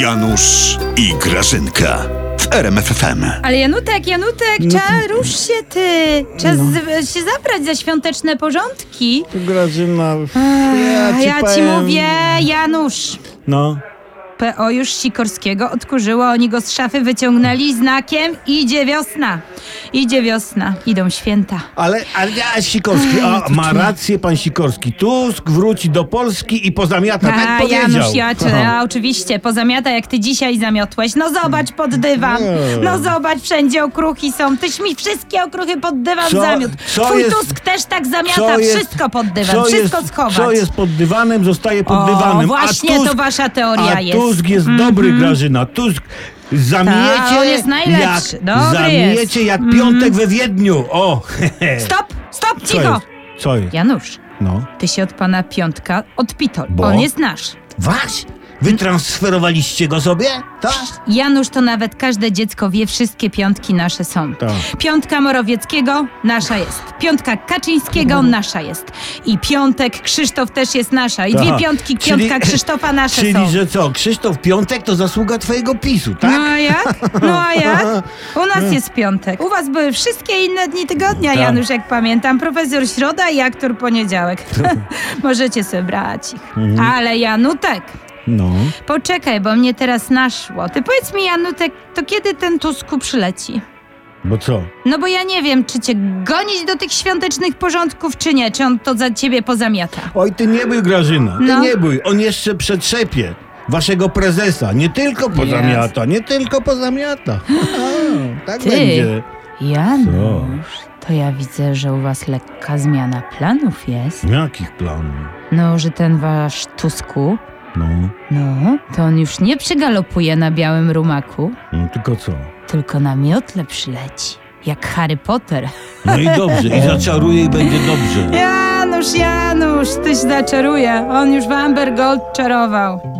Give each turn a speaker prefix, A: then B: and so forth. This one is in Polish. A: Janusz i Grażynka w RMFFM.
B: Ale Janutek, Janutek,
C: No
B: czas, rusz się ty. Czas z- się zabrać za świąteczne porządki.
C: Grażyna.
B: A ja ci
C: powiem-
B: mówię, Janusz.
C: No.
B: PO już Sikorskiego odkurzyło, oni go z szafy wyciągnęli znakiem idzie wiosna. Idzie wiosna, idą święta.
C: Ale, ale a Sikorski, a, ma rację pan Sikorski. Tusk wróci do Polski i pozamiata. Tak
B: A,
C: powiedział.
B: Janusz, ja cię,
C: Aha.
B: a, oczywiście, pozamiata jak ty dzisiaj zamiotłeś. No zobacz pod dywan,
C: Nie.
B: no zobacz, wszędzie okruchy są. Tyś mi wszystkie okruchy pod dywan
C: Co-
B: zamiótł.
C: co
B: Twój
C: jest-
B: Tusk też tak
C: Co
B: zamiata,
C: jest-
B: wszystko pod dywan,
C: co
B: wszystko
C: jest,
B: schować.
C: Co jest pod dywanem, zostaje pod
B: O,
C: dywanem.
B: właśnie
C: a Tusk,
B: to wasza teoria
C: a
B: jest. Mhm.
C: Tusk jest dobry, Grażyna. Tusk zamiecie,
B: Ta, on jest najlepszy.
C: jak,
B: Dobry
C: zamiecie
B: jest. Mhm.
C: jak piątek we Wiedniu. O,
B: Stop, stop,
C: Co
B: cicho!
C: jest? Co jest?
B: Janusz,
C: No.
B: ty się od pana Piątka odpitol,
C: Bo?
B: on jest nasz.
C: Was? Wytransferowaliście go sobie? Tak?
B: Janusz to nawet każde dziecko wie, wszystkie piątki nasze są.
C: Tak.
B: Piątka Morawieckiego nasza jest. Piątka
C: No.
B: Kaczyńskiego nasza jest. I piątek Krzysztof też jest nasza. I dwie
C: Tak.
B: piątki
C: Czyli-
B: piątka Krzysztofa nasze
C: Czyli,
B: są.
C: że co, Krzysztof Piątek to zasługa twojego PiSu, tak?
B: No a jak? No a jak? U nas jest piątek. U was były wszystkie inne dni tygodnia,
C: Tak.
B: Janusz, jak pamiętam. Profesor Środa i aktor poniedziałek.
C: Tak.
B: Możecie sobie brać ich.
C: Mhm.
B: Ale Janutek,
C: No.
B: poczekaj, bo mnie teraz naszło. Ty powiedz mi, Janutek, to kiedy ten Tusku przyleci?
C: Bo co?
B: No bo ja nie wiem, czy cię gonić do tych świątecznych porządków, czy nie, czy on to za ciebie pozamiata.
C: Oj, ty nie bój, Grażyna, ty
B: No.
C: nie bój. On jeszcze przetrzepie waszego prezesa. Nie tylko pozamiata, nie tylko pozamiata. A, tak
B: No. Ty. No.
C: będzie.
B: Janusz, to ja widzę, że u was lekka zmiana planów jest.
C: Jakich planów?
B: No, że ten wasz Tusku,
C: No.
B: no, to on już nie przygalopuje na białym rumaku,
C: no, tylko co?
B: tylko na miotle przyleci. Jak Harry Potter.
C: No i dobrze, i zaczaruje i będzie dobrze.
B: Janusz, Janusz, tyś zaczaruje. On już w Amber Gold czarował.